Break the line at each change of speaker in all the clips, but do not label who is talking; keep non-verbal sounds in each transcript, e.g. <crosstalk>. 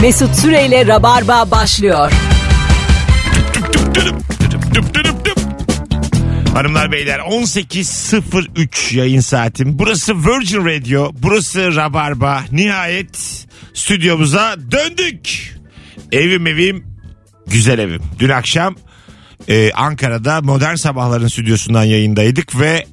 Mesut Süreyle Rabarba başlıyor.
Düp düp düdüp, düdüp düp düdüp düp. Hanımlar beyler 18.03 yayın saatim. Burası Virgin Radio, burası Rabarba. Nihayet stüdyomuza döndük. Evim evim, güzel evim. Dün akşam e, Ankara'da Modern Sabahların stüdyosundan yayındaydık ve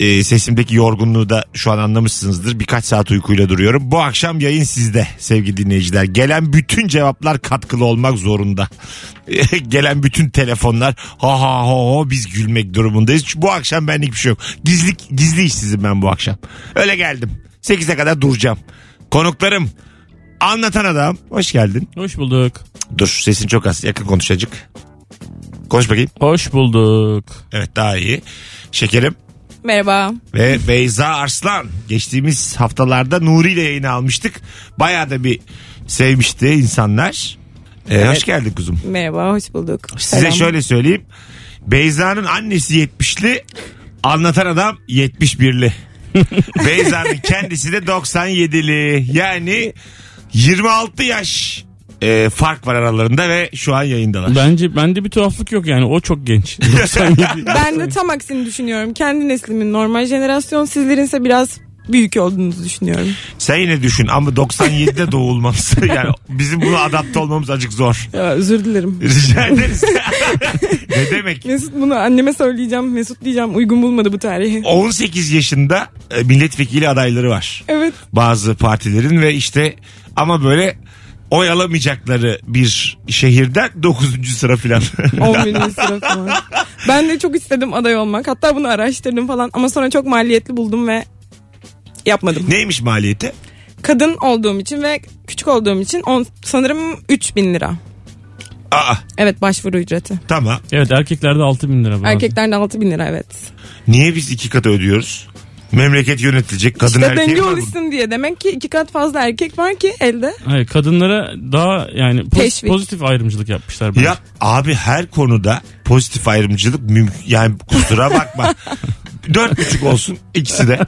e, sesimdeki yorgunluğu da şu an anlamışsınızdır. Birkaç saat uykuyla duruyorum. Bu akşam yayın sizde sevgili dinleyiciler. Gelen bütün cevaplar katkılı olmak zorunda. <laughs> Gelen bütün telefonlar ha ha ha ha biz gülmek durumundayız. Çünkü Bu akşam benlik bir şey yok. Gizli, gizli işsizim ben bu akşam. Öyle geldim. 8'e kadar duracağım. Konuklarım anlatan adam hoş geldin.
Hoş bulduk.
Dur sesin çok az yakın konuşacak. Konuş bakayım.
Hoş bulduk.
Evet daha iyi. Şekerim.
Merhaba.
Ve Beyza Arslan geçtiğimiz haftalarda Nuri ile yayını almıştık. Bayağı da bir sevmişti insanlar. Ee, Hoş geldin kuzum.
Merhaba, hoş bulduk.
Size
Selam.
şöyle söyleyeyim. Beyza'nın annesi 70'li, anlatan adam 71'li. Beyza'nın kendisi de 97'li. Yani 26 yaş e, fark var aralarında ve şu an yayındalar.
Bence bende bir tuhaflık yok yani o çok genç. 97.
Ben de tam aksini düşünüyorum. Kendi neslimin normal jenerasyon, sizlerinse biraz büyük olduğunuzu düşünüyorum.
Sen yine düşün ama 97'de doğulması <laughs> yani bizim buna adapte olmamız acık zor.
Ya, özür dilerim.
Rica ederiz. <laughs> ne demek?
Mesut bunu anneme söyleyeceğim. Mesut diyeceğim uygun bulmadı bu tarihi.
18 yaşında e, milletvekili adayları var.
Evet.
Bazı partilerin ve işte ama böyle oy alamayacakları bir şehirden 9. sıra filan. <laughs>
11. sınıf falan. Ben de çok istedim aday olmak. Hatta bunu araştırdım falan ama sonra çok maliyetli buldum ve yapmadım.
Neymiş maliyeti?
Kadın olduğum için ve küçük olduğum için on, sanırım 3000 lira.
Aa
Evet başvuru ücreti.
tamam.
evet erkeklerde 6000 lira var.
Erkeklerde 6000 lira evet.
Niye biz iki katı ödüyoruz? Memleket yönetilecek kadın
İşte
erkeği
denge
var bunun.
oluşsun diye. Demek ki iki kat fazla erkek var ki elde.
Hayır kadınlara daha yani poz-
Teşvik.
pozitif ayrımcılık yapmışlar. bence.
Ya abi her konuda pozitif ayrımcılık mümkün. Yani kusura
<laughs>
bakma. Dört buçuk olsun ikisi de.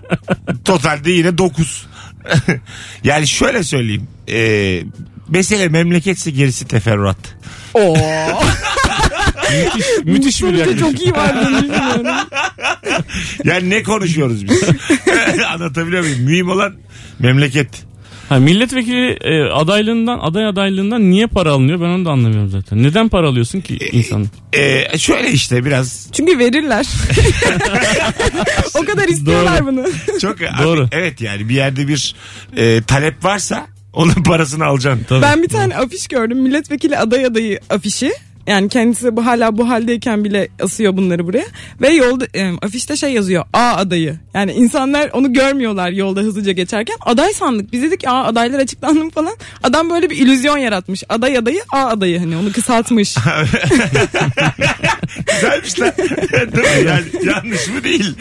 Totalde yine dokuz. <laughs> yani şöyle söyleyeyim. Ee, mesele memleketse gerisi teferruat.
Oo.
müthiş, müthiş bir yaklaşım.
çok iyi var diye
<laughs>
düşünüyorum.
Yani ne konuşuyoruz biz? <laughs> Anlatabiliyor muyum? Mühim olan memleket.
Ha, milletvekili e, adaylığından aday adaylığından niye para alınıyor ben onu da anlamıyorum zaten. Neden para alıyorsun ki insan?
Ee, şöyle işte biraz
Çünkü verirler. o kadar istiyorlar
Doğru.
bunu.
çok
Doğru.
evet yani bir yerde bir e, talep varsa onun parasını alacaksın.
Tabii.
Ben bir tane afiş gördüm. Milletvekili aday adayı afişi. Yani kendisi bu hala bu haldeyken bile asıyor bunları buraya. Ve yolda e, afişte şey yazıyor. A adayı. Yani insanlar onu görmüyorlar yolda hızlıca geçerken. Aday sandık. Biz dedik ki, "Aa, adaylar açıklandı mı falan. Adam böyle bir illüzyon yaratmış. Aday adayı A adayı hani onu kısaltmış.
Güzelmiş lan. <laughs> Değil mi? Yani yanlış mı değil?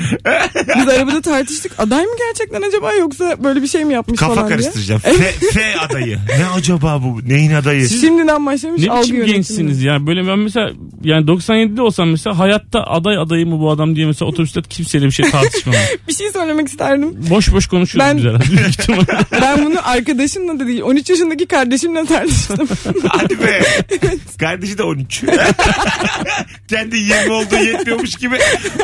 Biz arabada tartıştık. Aday mı gerçekten acaba yoksa böyle bir şey mi yapmış
Kafa
falan diye.
karıştıracağım. F, F adayı. Ne acaba bu? Neyin adayı?
Şimdiden başlamış
Ne
algı
biçim
yönetimi.
gençsiniz ya böyle ben mesela yani 97'de olsam mesela hayatta aday adayı mı bu adam diye mesela otobüste kimseyle bir şey
<laughs>
tartışmam.
<laughs> Bir şey söylemek isterdim.
boş boş konuşuyoruz
Ben-
biz herhalde <laughs> büyük ihtimalle.
<laughs> Ben bunu arkadaşımla da değil 13 yaşındaki kardeşimle tartıştım.
Hadi be. Kardeşi de 13. <laughs> Kendi 20 olduğu yetmiyormuş gibi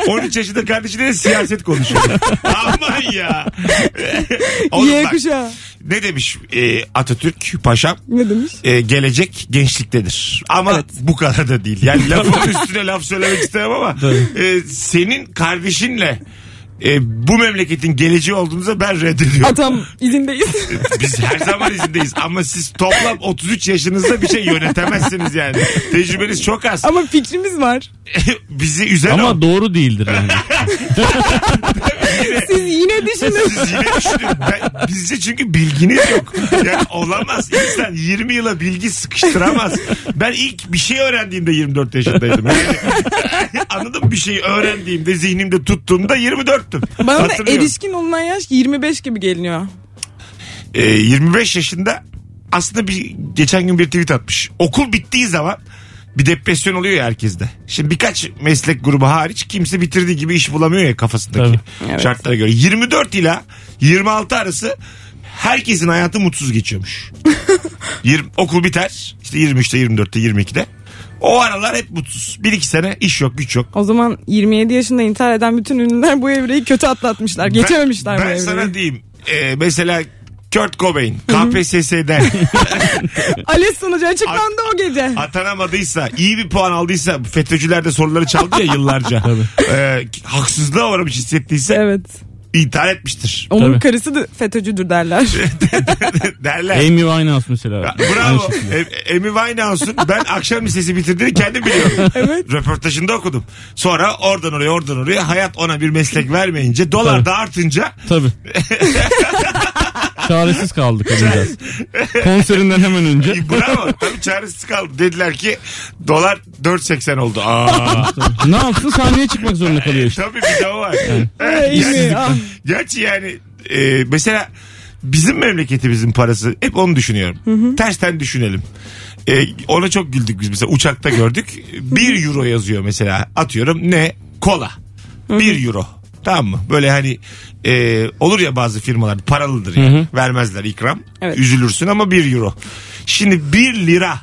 13 yaşında kardeşine de siyaset
<laughs>
konuşuyor. Aman ya. <laughs> Oğlum
Y
bak,
kuşağı.
ne demiş e, Atatürk paşam?
Ne demiş?
E, gelecek gençliktedir. Ama bu kadar da değil.
<laughs>
Yani lafın üstüne laf söylemek istemem ama e, senin kardeşinle e, bu memleketin geleceği olduğunuza ben reddediyorum.
Atam izindeyiz. <laughs>
Ee, Biz her zaman izindeyiz ama siz toplam 33 yaşınızda bir şey yönetemezsiniz yani. Tecrübeniz çok az. E,
Ama fikrimiz var.
Bizi üzen o.
<laughs>
Ama doğru değildir yani.
Siz yine düşünün.
Siz yine düşünün. Ben- Bizce çünkü bilginiz yok. Yani olamaz. İnsan 20 yıla bilgi sıkıştıramaz. Ben ilk bir şey öğrendiğimde 24 yaşındaydım. Yani, <laughs> anladın mı? Bir şeyi öğrendiğimde zihnimde tuttuğumda 24'tüm.
Bana da
Hatırlıyorum.
erişkin olunan yaş 25 gibi geliniyor.
Ee, 25 yaşında aslında bir geçen gün bir tweet atmış. Okul bittiği zaman bir depresyon oluyor ya herkeste. Şimdi birkaç meslek grubu hariç kimse bitirdiği gibi iş bulamıyor ya kafasındaki
Tabii.
şartlara göre. 24 ile 26 arası herkesin hayatı mutsuz geçiyormuş. Yirmi- okul biter. İşte 23'te, 24'te, 22'de. O aralar hep mutsuz. Bir iki sene iş yok, güç yok.
O zaman 27 yaşında intihar eden bütün ünlüler bu evreyi kötü atlatmışlar. Geçememişler
ben,
bu
ben
evreyi.
sana diyeyim. Ee, mesela Kurt Cobain KPSS'den
Ales sonucu açıklandı o gece.
atanamadıysa iyi bir puan aldıysa FETÖ'cüler de soruları çaldı ya
<laughs>
yıllarca. Ee, haksızlığa uğramış hissettiyse
Evet.
intihar etmiştir.
Onun
Tabii.
karısı da FETÖ'cüdür derler.
<laughs> Derler.
Amy Winehouse mesela. Aynı
Bravo.
şekilde.
E- Amy Winehouse'un ben akşam lisesi bitirdiğini kendim
<laughs>
biliyorum. evet. Röportajında okudum. Sonra oradan oraya oradan oraya hayat ona bir meslek vermeyince dolar
Tabii.
da artınca <laughs>
Tabii. Çaresiz kaldı kadıncağız. Konserinden hemen önce.
e, bravo tabii çaresiz kaldı. Dediler ki dolar 4.80 oldu. Aa.
ne yapsın sahneye çıkmak zorunda kalıyor işte.
tabii bir de o var. <laughs>
Ey mi? Ah.
Gerçi yani e, mesela bizim memleketimizin parası hep onu düşünüyorum. Tersten düşünelim. E, ona çok güldük biz mesela uçakta gördük. 1 euro yazıyor mesela atıyorum ne? Kola. 1 euro. Tamam mı? Böyle hani e, olur ya bazı firmalar paralıdır yani. Vermezler ikram.
Evet.
Üzülürsün ama 1 euro. Şimdi 1 lira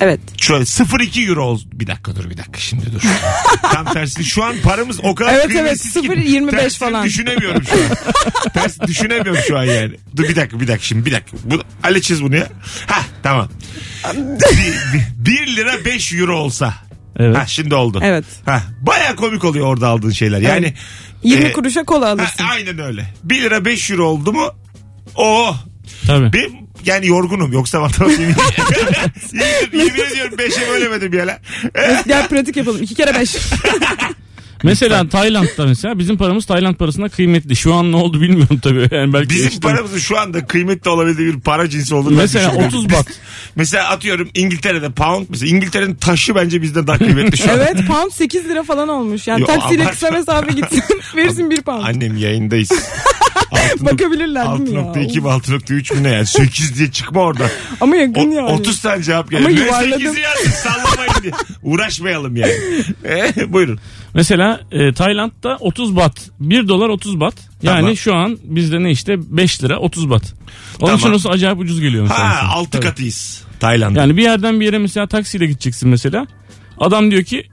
Evet.
Şöyle 0.2 euro olsun. Bir dakika dur bir dakika şimdi dur. <laughs> Tam tersi şu an paramız o kadar
Evet, evet,
kıymetsiz ki
0.25
tersini
falan.
düşünemiyorum şu
<laughs>
an. Ters düşünemiyorum şu an yani. Dur bir dakika bir dakika şimdi bir dakika. Bu, Ali çiz bunu ya. Ha tamam. 1 lira 5 euro olsa.
Evet.
Ha şimdi oldu.
Evet.
Ha, baya komik oluyor orada aldığın şeyler. Yani
20
e,
kuruşa kola
ha, <laughs>
alırsın.
aynen öyle. 1 lira 5 euro oldu mu? Oo
Tabii.
ben yani yorgunum yoksa <laughs>
<laughs>
matematiğimi yemin, yemin ediyorum 5'e bölemedim ya lan.
Gel pratik yapalım. 2 kere
<laughs>
5.
Mesela Tayland'da mesela bizim paramız Tayland parasına kıymetli. Şu an ne oldu bilmiyorum tabii. <laughs> Yani belki
Bizim
işte-
paramızın şu anda kıymetli olabildiği bir para cinsi olduğunu ben
Mesela
düşünmüyorum.
30 bat.
Mesela atıyorum İngiltere'de pound mesela İngiltere'nin taşı bence bizden daha kıymetli
<laughs>
şu an.
Evet pound 8 lira falan olmuş. Yani
Yo,
taksiyle
abartma.
kısa mesafe
<laughs>
gitsin. verirsin 1 pound.
Annem
<laughs>
yayındayız. Altı nok-
Bakabilirler değil mi ya?
6.2 mi 6.3 mü ne yani 8 diye çıkma orada.
Ama
O,
yakın yani.
30 tane cevap geldi.
Ama
Ben
yuvarladım.
8'i yazdım sallamayın diye. Uğraşmayalım
<laughs>
yani. Eh, buyurun.
Mesela e, Tayland'da 30 bat. 1 dolar 30 bat. Yani
Tamam.
şu an bizde ne işte 5 lira 30 bat. Onun için
Tamam.
olsa acayip ucuz geliyor mesela.
Ha
insana.
6 katıyız Tayland'da.
Yani bir yerden bir yere mesela taksiyle gideceksin mesela. Adam diyor ki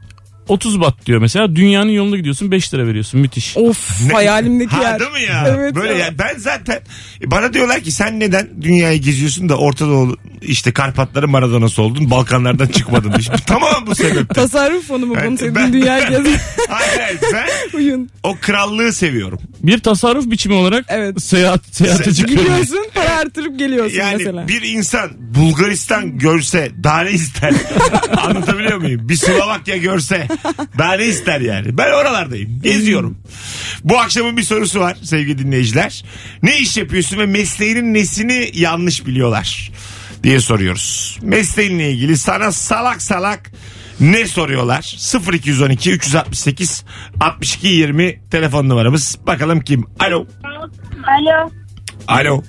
30 bat diyor mesela. Dünyanın yolunda gidiyorsun 5 lira veriyorsun. Müthiş.
Of
<laughs> Ne-
hayalimdeki
ha,
yer.
Değil mi ya?
Evet
Böyle
ya.
ya. ben zaten bana diyorlar ki sen neden dünyayı geziyorsun da Orta Doğu işte Karpatların Maradona'sı oldun Balkanlardan çıkmadın. <laughs> diye. tamam bu
<laughs>
sebepten.
Tasarruf fonu mu? Bunu sevdiğin
Ben-
dünya
<laughs>
gezin.
Hayır, hayır, ben
Uyun.
o krallığı seviyorum.
Bir tasarruf biçimi olarak
Evet.
seyahat seyahate
Se-
çıkıyoruz.
Gidiyorsun para artırıp geliyorsun
Yani
mesela.
bir insan Bulgaristan görse daha ne ister? Anlatabiliyor muyum? Bir Slovakya görse daha ne ister yani? Ben oralardayım. Geziyorum. Bu akşamın bir sorusu var sevgili dinleyiciler. Ne iş yapıyorsun ve mesleğinin nesini yanlış biliyorlar diye soruyoruz. Mesleğinle ilgili sana salak salak ne soruyorlar? 0212 368 62 20 telefon numaramız. Bakalım kim? Alo.
Alo.
Alo.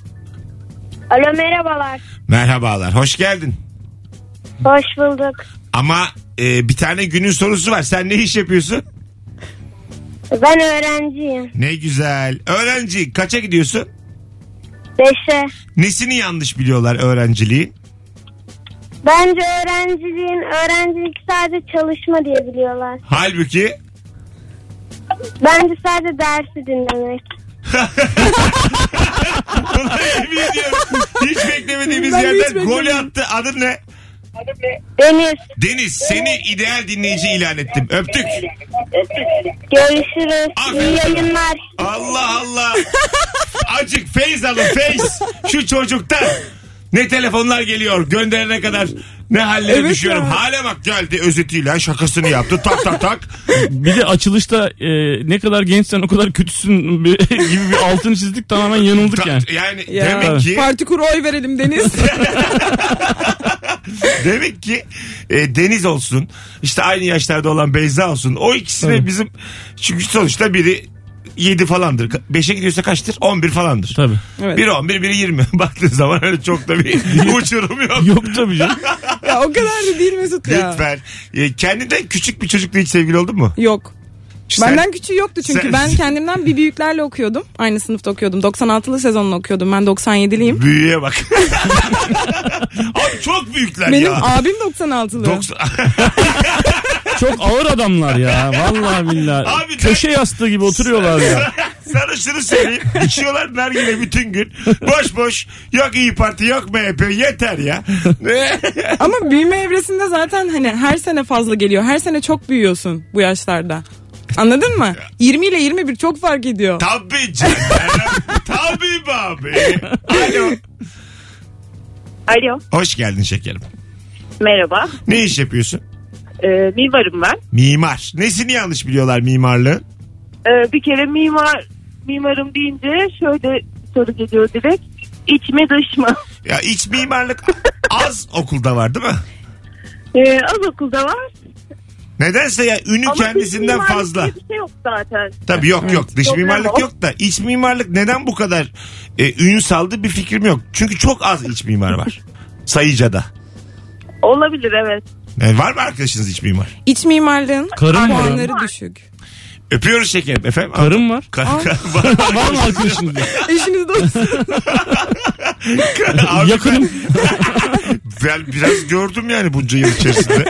Alo merhabalar.
Merhabalar. Hoş geldin.
Hoş bulduk.
Ama e, bir tane günün sorusu var. Sen ne iş yapıyorsun?
Ben öğrenciyim.
Ne güzel. Öğrenci kaça gidiyorsun?
Beşe.
Nesini yanlış biliyorlar öğrenciliği?
Bence öğrenciliğin öğrencilik sadece çalışma diye biliyorlar.
Halbuki <laughs>
Bence sadece dersi dinlemek.
Ulan yemin ediyorum, hiç beklemediğimiz
Ben de hiç
yerden golü
beklemedim.
attı. Adın ne?
Deniz
Deniz seni ideal dinleyici ilan ettim. Öptük.
görüşürüz.
Aferin
İyi
sana.
yayınlar.
Allah Allah. Acık feyz alın feyz. Şu çocuktan. Ne telefonlar geliyor gönderene kadar ne hallere
Evet
düşüyorum.
ya.
Hale bak geldi özetiyle şakasını yaptı tak tak tak.
<laughs> Bir de açılışta e, ne kadar gençsen o kadar kötüsün <laughs> bir- gibi bir altını çizdik tamamen yanıldık
Ta-
yani.
yani
Ya.
demek ki
Parti kur oy
<laughs>
verelim Deniz.
demek ki e, Deniz olsun işte aynı yaşlarda olan Beyza olsun o ikisine
Tabii.
bizim çünkü sonuçta biri 7 falandır. 5'e gidiyorsa kaçtır? 11 falandır.
Tabii.
Evet.
Biri 11, biri 20. <laughs> Baktığın zaman öyle çok da
<laughs>
bir uçurum yok.
Yok tabii canım.
ya o kadar da değil Mesut ya.
Lütfen. E, kendinden küçük bir çocukla hiç sevgili oldun mu?
Yok.
Sen-
Benden küçüğü yoktu çünkü
sen-
ben kendimden bir büyüklerle okuyordum. Aynı sınıfta okuyordum. 96'lı sezonla okuyordum. Ben 97'liyim.
Büyüye bak. <laughs> Abi çok büyükler
Benim
ya.
abim 96'lı.
90...
Çok ağır adamlar ya. Vallahi billahi.
Abi,
Köşe yastığı gibi oturuyorlar ya.
<laughs> Sana şunu söyleyeyim. İçiyorlar nargile bütün gün. Boş boş. Yok İyi Parti yok MHP. Yeter
<laughs>
ya.
<laughs> Ama büyüme evresinde zaten hani her sene fazla geliyor. Her sene çok büyüyorsun bu yaşlarda. Anladın mı? 20 ile 21 çok fark ediyor.
Tabii <laughs> canım. Tabii be abi. Alo.
Alo
Hoş geldin şekerim.
merhaba
Ne iş yapıyorsun?
ee, mimarım ben.
Mimar. Nesini yanlış biliyorlar mimarlığın?
Ee, bir kere mimar mimarım deyince şöyle soru geliyor direkt. İç mi dış mı?
Ya iç mimarlık az okulda var değil mi?
Ee, az okulda var.
Nedense ya ünü
Ama
kendisinden
mimarlık
fazla.
diye Bir şey yok zaten.
Tabii yok yok. Dış
Problem
mimarlık
o.
yok da iç mimarlık neden bu kadar e, ün saldı bir fikrim yok. Çünkü çok az iç mimar var. Sayıca'da.
Olabilir evet.
E, var mı arkadaşınız iç mimar?
İç mimarlığın
Karın var.
puanları düşük. <laughs>
Öpüyoruz şekerim efendim.
Karım var.
Ka- <laughs> ka-
<laughs> Var mı arkadaşınız?
Eşiniz dostunuz.
Abi
Yakınım.
Ben biraz gördüm yani bunca yıl içerisinde.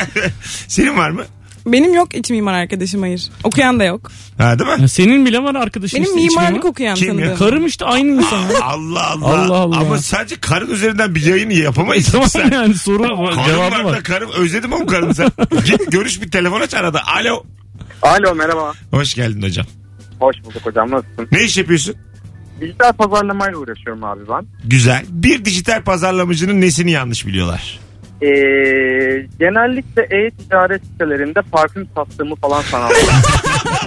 <laughs> Senin var mı?
Benim yok iç mimar arkadaşım hayır. Okuyan da yok.
Ha değil mi?
Ya Senin bile var arkadaşın
Benim
işte iç
mimarlık
mimar.
okuyan
Kim ya?
tanıdığım.
Karım işte aynı insan.
Allah Allah.
Allah Allah.
Ama sadece karın üzerinden bir yayını yapamayız.
tamam
sen.
yani soru var,
Karın
cevabı
var da
var.
karım. Özledim oğlum karını sen. Git görüş bir telefon aç arada. Alo.
Alo merhaba.
Hoş geldin hocam.
Hoş bulduk hocam nasılsın?
Ne iş yapıyorsun?
Dijital pazarlamayla uğraşıyorum abi ben.
Güzel. Bir dijital pazarlamacının nesini yanlış biliyorlar?
Ee, genellikle e-ticaret sitelerinde parfüm sattığımı falan sanarlar.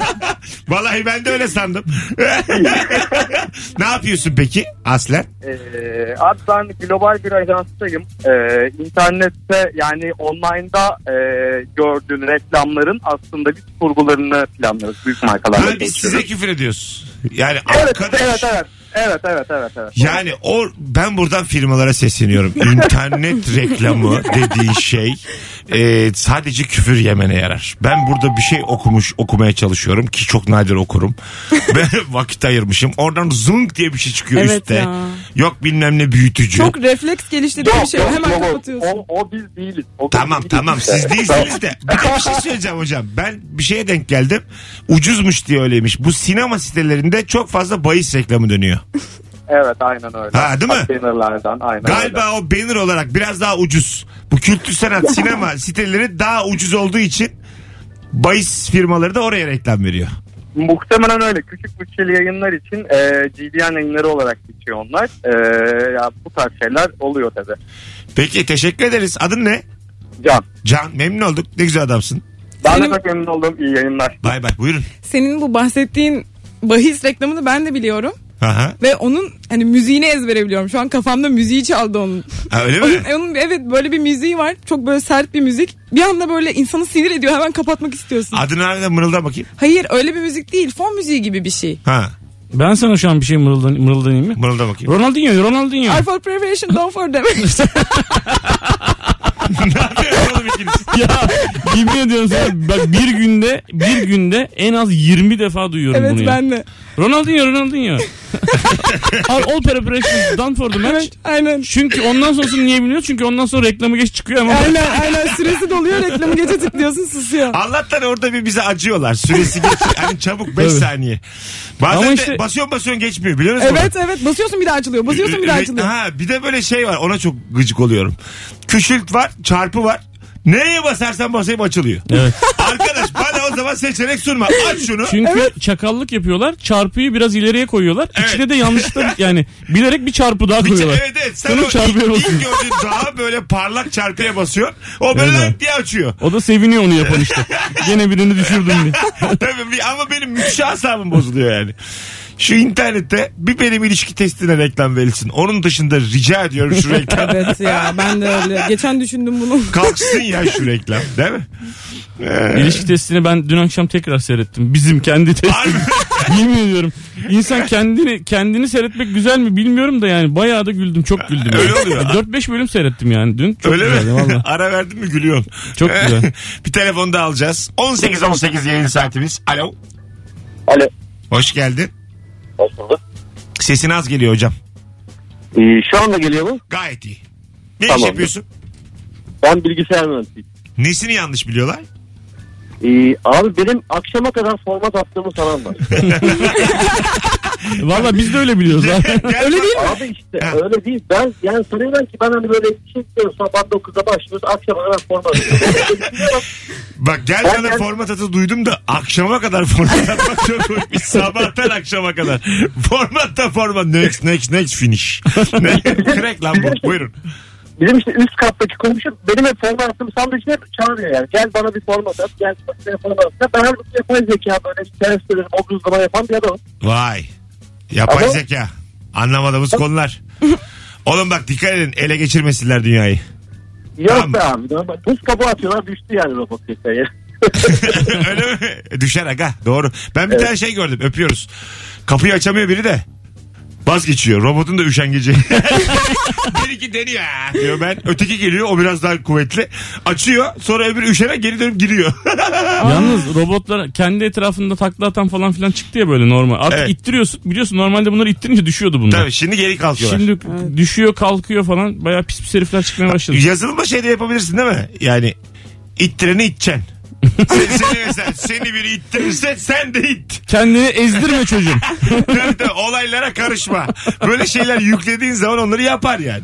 <laughs>
Vallahi ben de öyle sandım. <laughs> ne yapıyorsun peki aslen?
ee, abi ben global bir ajanstayım. Ee, internette yani online'da e, gördüğün reklamların aslında biz kurgularını planlıyoruz. Büyük markalarla
Ha, biz size
çalışıyoruz.
küfür ediyoruz. Yani
Evet,
arkadaş.
evet, evet, evet, evet, evet, evet.
Yani o ben buradan firmalara
<laughs>
sesleniyorum. İnternet reklamı dediği şey e, sadece küfür yemene yarar. Ben burada bir şey okumuş okumaya çalışıyorum ki çok nadir
<laughs>
okurum. Ben vakit ayırmışım. Oradan zung diye bir şey çıkıyor
Evet
üstte.
ya.
Yok bilmem ne büyütücü.
Çok refleks geliştirdiği bir şey. var. Hemen kapatıyorsun.
O, o biz değiliz. O biz
Tamam
değiliz
tamam
işte.
<laughs>
siz değilsiniz de bir de bir şey söyleyeceğim hocam ben bir şeye denk geldim ucuzmuş diye öyleymiş bu sinema sitelerinde çok fazla bahis reklamı dönüyor
Evet aynen öyle.
Ha, değil mi?
Containerlardan, aynen öyle.
Galiba o banner olarak biraz daha ucuz. Bu kültür sanat sinema siteleri daha ucuz olduğu için bahis firmaları da oraya reklam veriyor.
Muhtemelen öyle. Küçük bütçeli yayınlar için e, GDN yayınları olarak geçiyor onlar. E, ya bu tarz şeyler oluyor tabii.
Peki teşekkür ederiz. Adın ne?
Can.
Can memnun olduk. Ne güzel adamsın.
Ben de
Benim-
çok memnun oldum. İyi yayınlar.
Bay bay buyurun.
Senin bu bahsettiğin bahis reklamını ben de biliyorum.
Aha.
Ve onun hani müziğini ezbere biliyorum. Şu an kafamda müziği çaldı onun.
Ha, öyle mi?
onun, onun- evet böyle bir müziği var. Çok böyle sert bir müzik. Bir anda böyle insanı sinir ediyor. Hemen kapatmak istiyorsun.
Adını harbiden mırıldan bakayım.
Hayır öyle bir müzik değil. Fon müziği gibi bir şey.
Ha
Ben sana şu an bir şey mırıldan, mırıldanayım mı?
mırıldan
<laughs>
bakayım.
Ronaldinho, Ronaldinho.
I for preparation don't for damage.
ne yapıyorsun oğlum ikiniz?
ya <laughs> yemin ediyorum sana bak bir günde bir günde en az 20 defa duyuyorum
<laughs> evet
bunu ya.
ben de.
Ronaldinho, Ronaldinho. All, all preparations done for the match.
Aynen.
Çünkü ondan sonrasını niye biliyor? Çünkü ondan sonra reklamı geç çıkıyor ama.
Aynen aynen süresi doluyor reklamı gece tıklıyorsun susuyor.
Allah'tan orada bir bize acıyorlar. Süresi geç. Hani çabuk 5
Tabii.
saniye. Bazen
Ama
de
işte-
basıyorsun basıyorsun geçmiyor biliyor musun?
Evet evet basıyorsun bir daha açılıyor. Basıyorsun bir daha
Re-
açılıyor.
<laughs> Ha, bir de böyle şey var ona çok gıcık oluyorum. Küçült var çarpı var. Nereye basarsan basayım açılıyor.
Evet.
Arkadaş bana o zaman seçenek sunma. Aç şunu.
Çünkü çakallık yapıyorlar. Çarpıyı biraz ileriye koyuyorlar.
Evet.
İçine de yanlışlıkla yani bilerek bir çarpı daha
Bir ke-
koyuyorlar.
evet evet sen
Sonra
o
çarpıya
ilk,
basıyor.
ilk gördüğün daha böyle parlak çarpıya basıyor. O böyle
Evet.
lan diye açıyor. <laughs>
O da seviniyor onu yapan işte. Gene birini düşürdüm diye.
Tabii bir- ama benim müthiş asabım bozuluyor yani. Şu internette bir benim ilişki testine reklam verilsin. Onun dışında rica ediyorum şu
<laughs>
reklam.
Evet ya ben de öyle. Geçen düşündüm bunu.
Kalksın ya şu reklam değil mi? Ee,
İlişki testini ben dün akşam tekrar seyrettim. Bizim kendi testimiz.
Harbi.
<laughs> Yemin ediyorum. İnsan kendini kendini seyretmek güzel mi bilmiyorum da yani bayağı da güldüm. Çok güldüm.
Öyle
yani.
oluyor.
4-5 bölüm seyrettim yani dün. Çok
<laughs> Öyle
güzeldi
mi?
valla.
Ara verdin mi gülüyorsun.
Çok
<laughs>
güzel.
bir telefon da alacağız. 18-18 yayın saatimiz. Alo.
Alo.
Hoş geldin.
Hoş bulduk.
Sesin az geliyor hocam.
Ee, şu anda geliyor mu?
Gayet iyi. Ne iş
Tamam.
yapıyorsun?
Ben bilgisayar mühendisiyim.
Nesini yanlış biliyorlar?
Ee, abi benim akşama kadar format attığımı sanan var.
Valla biz de öyle biliyoruz abi.
Öyle değil
abi işte öyle değil. Ben yani sanıyorum ki ben hani böyle bir şey istiyorum. Sabah 9'da başlıyoruz. Akşama kadar format atıyoruz.
Bak gel
Ben-
bana
ben-
format atı duydum da akşama kadar <laughs> format atmak çok koymuş. Sabahtan akşama kadar. <laughs> Formatta format. Next next next finish. Ne? Crack lan bu. Buyurun.
Bizim işte üst kattaki komşu benim hep forma attığım sandviçine çağırıyor yani. Gel bana bir forma at, gel bana bir forma at. Ben her gün yapay zeka böyle servislerim, obuzlama yapan bir adamım.
Vay. Yapay
Ama-
zeka. Anlamadığımız konular. Oğlum bak dikkat edin ele geçirmesinler dünyayı.
Yok
Tamam.
be abi. normal. Buz kabuğu atıyorlar düştü yani robot zekaya.
<laughs> Öyle mi? Düşer aga doğru. Ben bir
Evet.
tane şey gördüm öpüyoruz. Kapıyı açamıyor biri de. Vazgeçiyor. Robotun da üşengeci. <laughs> bir iki deniyor "Aa!" diyor ben. Öteki geliyor o biraz daha kuvvetli. Açıyor sonra öbürü üşene geri dönüp giriyor. <laughs>
Yalnız robotlar kendi etrafında takla atan falan filan çıktı ya böyle normal. Artık
Evet.
ittiriyorsun. Biliyorsun normalde bunları ittirince düşüyordu bunlar.
Tabii şimdi geri kalkıyorlar.
Şimdi düşüyor kalkıyor falan. Bayağı pis pis herifler çıkmaya başladı.
Yazılma şey de yapabilirsin değil mi? Yani ittireni
<laughs>
iteceksin. seni, seni, mesela- seni biri ittirirse sen de it.
Kendini ezdirme çocuğum.
Tabii tabii, olaylara karışma. Böyle şeyler yüklediğin zaman onları yapar yani.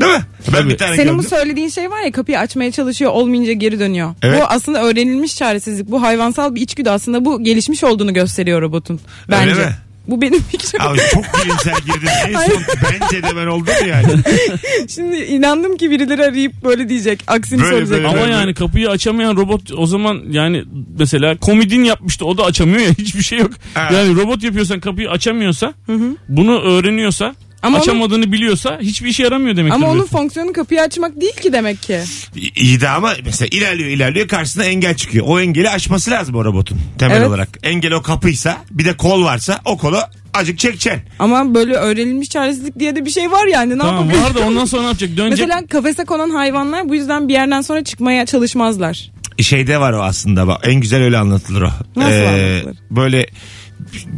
Değil mi? Ben bir tane
Senin bu
gördüm.
söylediğin şey var ya kapıyı açmaya çalışıyor olmayınca geri dönüyor.
Evet.
Bu aslında öğrenilmiş çaresizlik. Bu hayvansal bir içgüdü aslında bu gelişmiş olduğunu gösteriyor robotun. Bence.
Öyle mi?
Bu benim <laughs> fikrim.
Abi çok bilimsel girdin. En son bence de ben oldum yani.
Şimdi inandım ki birileri arayıp böyle diyecek. Aksini
Böyle,
söyleyecek.
böyle.
Ama
Evet.
yani kapıyı açamayan robot o zaman yani mesela komedin yapmıştı o da açamıyor ya <laughs> hiçbir şey yok.
Ha.
Yani robot yapıyorsan kapıyı açamıyorsa bunu öğreniyorsa
Ama
açamadığını biliyorsa hiçbir işe yaramıyor demektir.
Ama
bu
onun
herif.
fonksiyonu kapıyı açmak değil ki demek ki.
İ- İyi de ama mesela ilerliyor ilerliyor karşısına engel çıkıyor. O engeli aşması lazım o robotun temel
Evet.
olarak. Engel o kapıysa bir de kol varsa o kolu acık çekeceksin.
Ama böyle öğrenilmiş çaresizlik diye de bir şey var yani. Ne
Tamam
yapabilir?
var da
<laughs>
ondan sonra ne yapacak? Dönecek.
Mesela kafese konan hayvanlar bu yüzden bir yerden sonra çıkmaya çalışmazlar. <laughs>
şeyde var o aslında bak en güzel öyle anlatılır o. Ee,
Nasıl anlatılır?
Böyle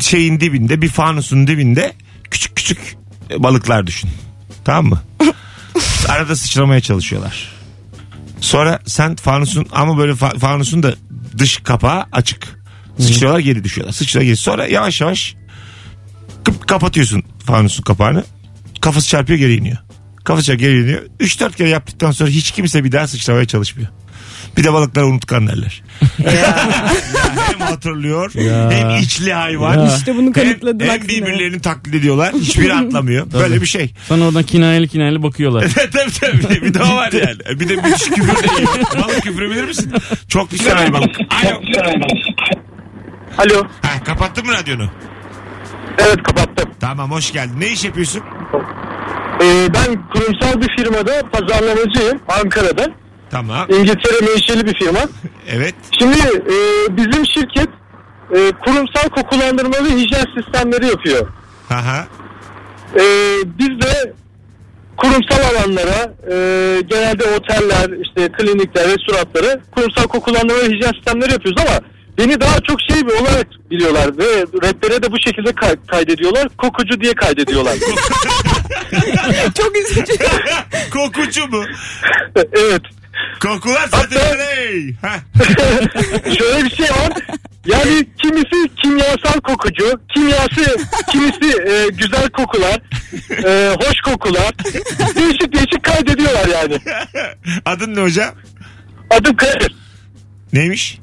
şeyin dibinde bir fanusun dibinde küçük küçük balıklar düşün. Tamam
<laughs>
mı? Arada sıçramaya çalışıyorlar. Sonra sen fanusun ama böyle fa- fanusun da dış kapağı açık. Sıçrıyorlar geri düşüyorlar. Sıçra geri. Sonra yavaş yavaş kıp- kapatıyorsun fanusun kapağını. Kafası çarpıyor geri iniyor. Kafası çarpıyor geri iniyor. 3-4 kere yaptıktan sonra hiç kimse bir daha sıçramaya çalışmıyor. Bir de balıklar unutkan
<laughs>
derler. Ya hem hatırlıyor hem içli hayvan.
Ya.
İşte bunu
Hem-
kanıtladın
Hem,
aksine.
birbirlerini taklit ediyorlar.
<laughs>
Hiçbiri atlamıyor. Böyle bir şey. <laughs>
Sana oradan kinayeli kinayeli bakıyorlar.
tabii tabii. Bir de o var yani. E, Bir de müthiş küfür de yiyor. Balık küfürü bilir misin? Çok pis saray balık. Alo.
<laughs> Alo.
Ha, kapattın mı radyonu?
Evet kapattım.
Tamam hoş geldin. Ne iş yapıyorsun?
Ee, ben kurumsal bir firmada pazarlamacıyım Ankara'da.
Tamam.
İngiltere menşeli bir firma.
Evet.
Şimdi e, bizim şirket e, kurumsal kokulandırma ve hijyen sistemleri yapıyor.
Aha.
E, biz de kurumsal alanlara e, genelde oteller, işte klinikler, restoranlara kurumsal kokulandırma ve hijyen sistemleri yapıyoruz ama beni daha çok şey bir olarak biliyorlar ve rehbere de bu şekilde kay- kaydediyorlar. Kokucu diye kaydediyorlar. <laughs>
<laughs>
Çok üzücü.
Kokucu mu?
evet. <laughs>
Kokular zaten hey. Ha.
Şöyle bir şey var. Yani kimisi kimyasal kokucu, kimyası, kimisi e, güzel kokular, e, hoş kokular. Değişik değişik kaydediyorlar yani.
Adın ne hocam?
Adım Kadir.
Neymiş?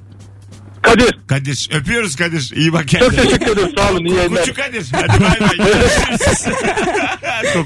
Kadir.
Kadir. Öpüyoruz Kadir. İyi bak
Çok
kendine.
teşekkür ederim. Sağ olun. iyi yayınlar.
Kokucu Kadir. Hadi bay
<laughs>
bay. Görüşürüz.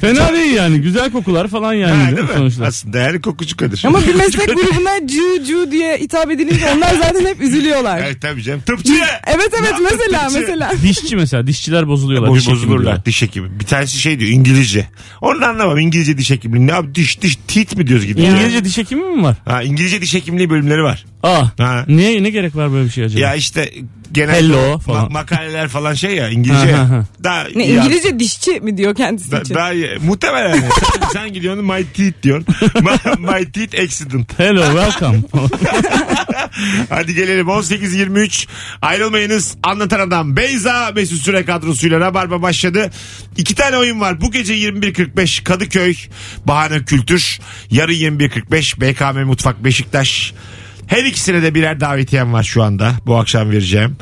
Fena değil yani güzel kokular falan yani
Ha,
değil mi sonuçta?
Aslında yani kokucu Kadir.
Ama bir meslek grubuna cu cu diye hitap edilince onlar zaten hep üzülüyorlar.
Evet tabii canım. Tıpçı.
Evet evet
yaptın
mesela
tıpçı?
mesela.
Dişçi mesela dişçiler bozuluyorlar.
Boş
diş hekimi
bozulurlar
diyorlar.
diş hekimi. Bir tanesi şey diyor İngilizce. Onu da anlamam İngilizce diş hekimliği. Ne abi diş diş tit mi diyoruz gibi.
İngilizce diş hekimi mi var?
Ha, İngilizce diş hekimliği bölümleri var.
Aa.
Ha.
Ne, ne gerek var böyle bir şeye? acaba?
Ya işte genel
Hello
ma-
falan.
makaleler falan şey ya İngilizce.
Ha, ha, ha.
daha
Ne
ya-
İngilizce dişçi mi diyor kendisi
da-
için?
daha iyi. muhtemelen. yani. sen, <laughs> sen gidiyorsun my teeth diyorsun. <laughs> My- my teeth accident.
Hello welcome.
<laughs> Hadi gelelim 18-23 ayrılmayınız anlatan adam Beyza Mesut Süre kadrosuyla Rabarba başladı. İki tane oyun var bu gece 21.45 Kadıköy Bahane Kültür yarın 21.45 BKM Mutfak Beşiktaş. Her ikisine de birer davetiyem var şu anda bu akşam vereceğim.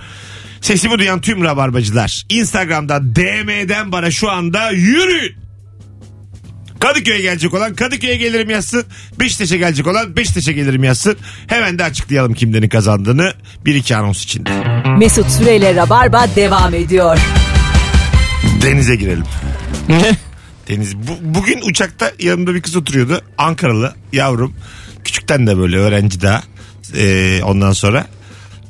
Sesimi duyan tüm rabarbacılar Instagram'da DM'den bana şu anda yürüyün. Kadıköy'e gelecek olan Kadıköy'e gelirim yazsın. Beşiktaş'a gelecek olan Beşiktaş'a gelirim yazsın. Hemen de açıklayalım kimlerin kazandığını. Bir iki anons içinde.
Mesut Süreyle Rabarba devam ediyor.
Denize girelim. Deniz. Bu- bugün uçakta yanımda bir kız oturuyordu. Ankaralı yavrum. Küçükten de böyle öğrenci daha. Ee, ondan sonra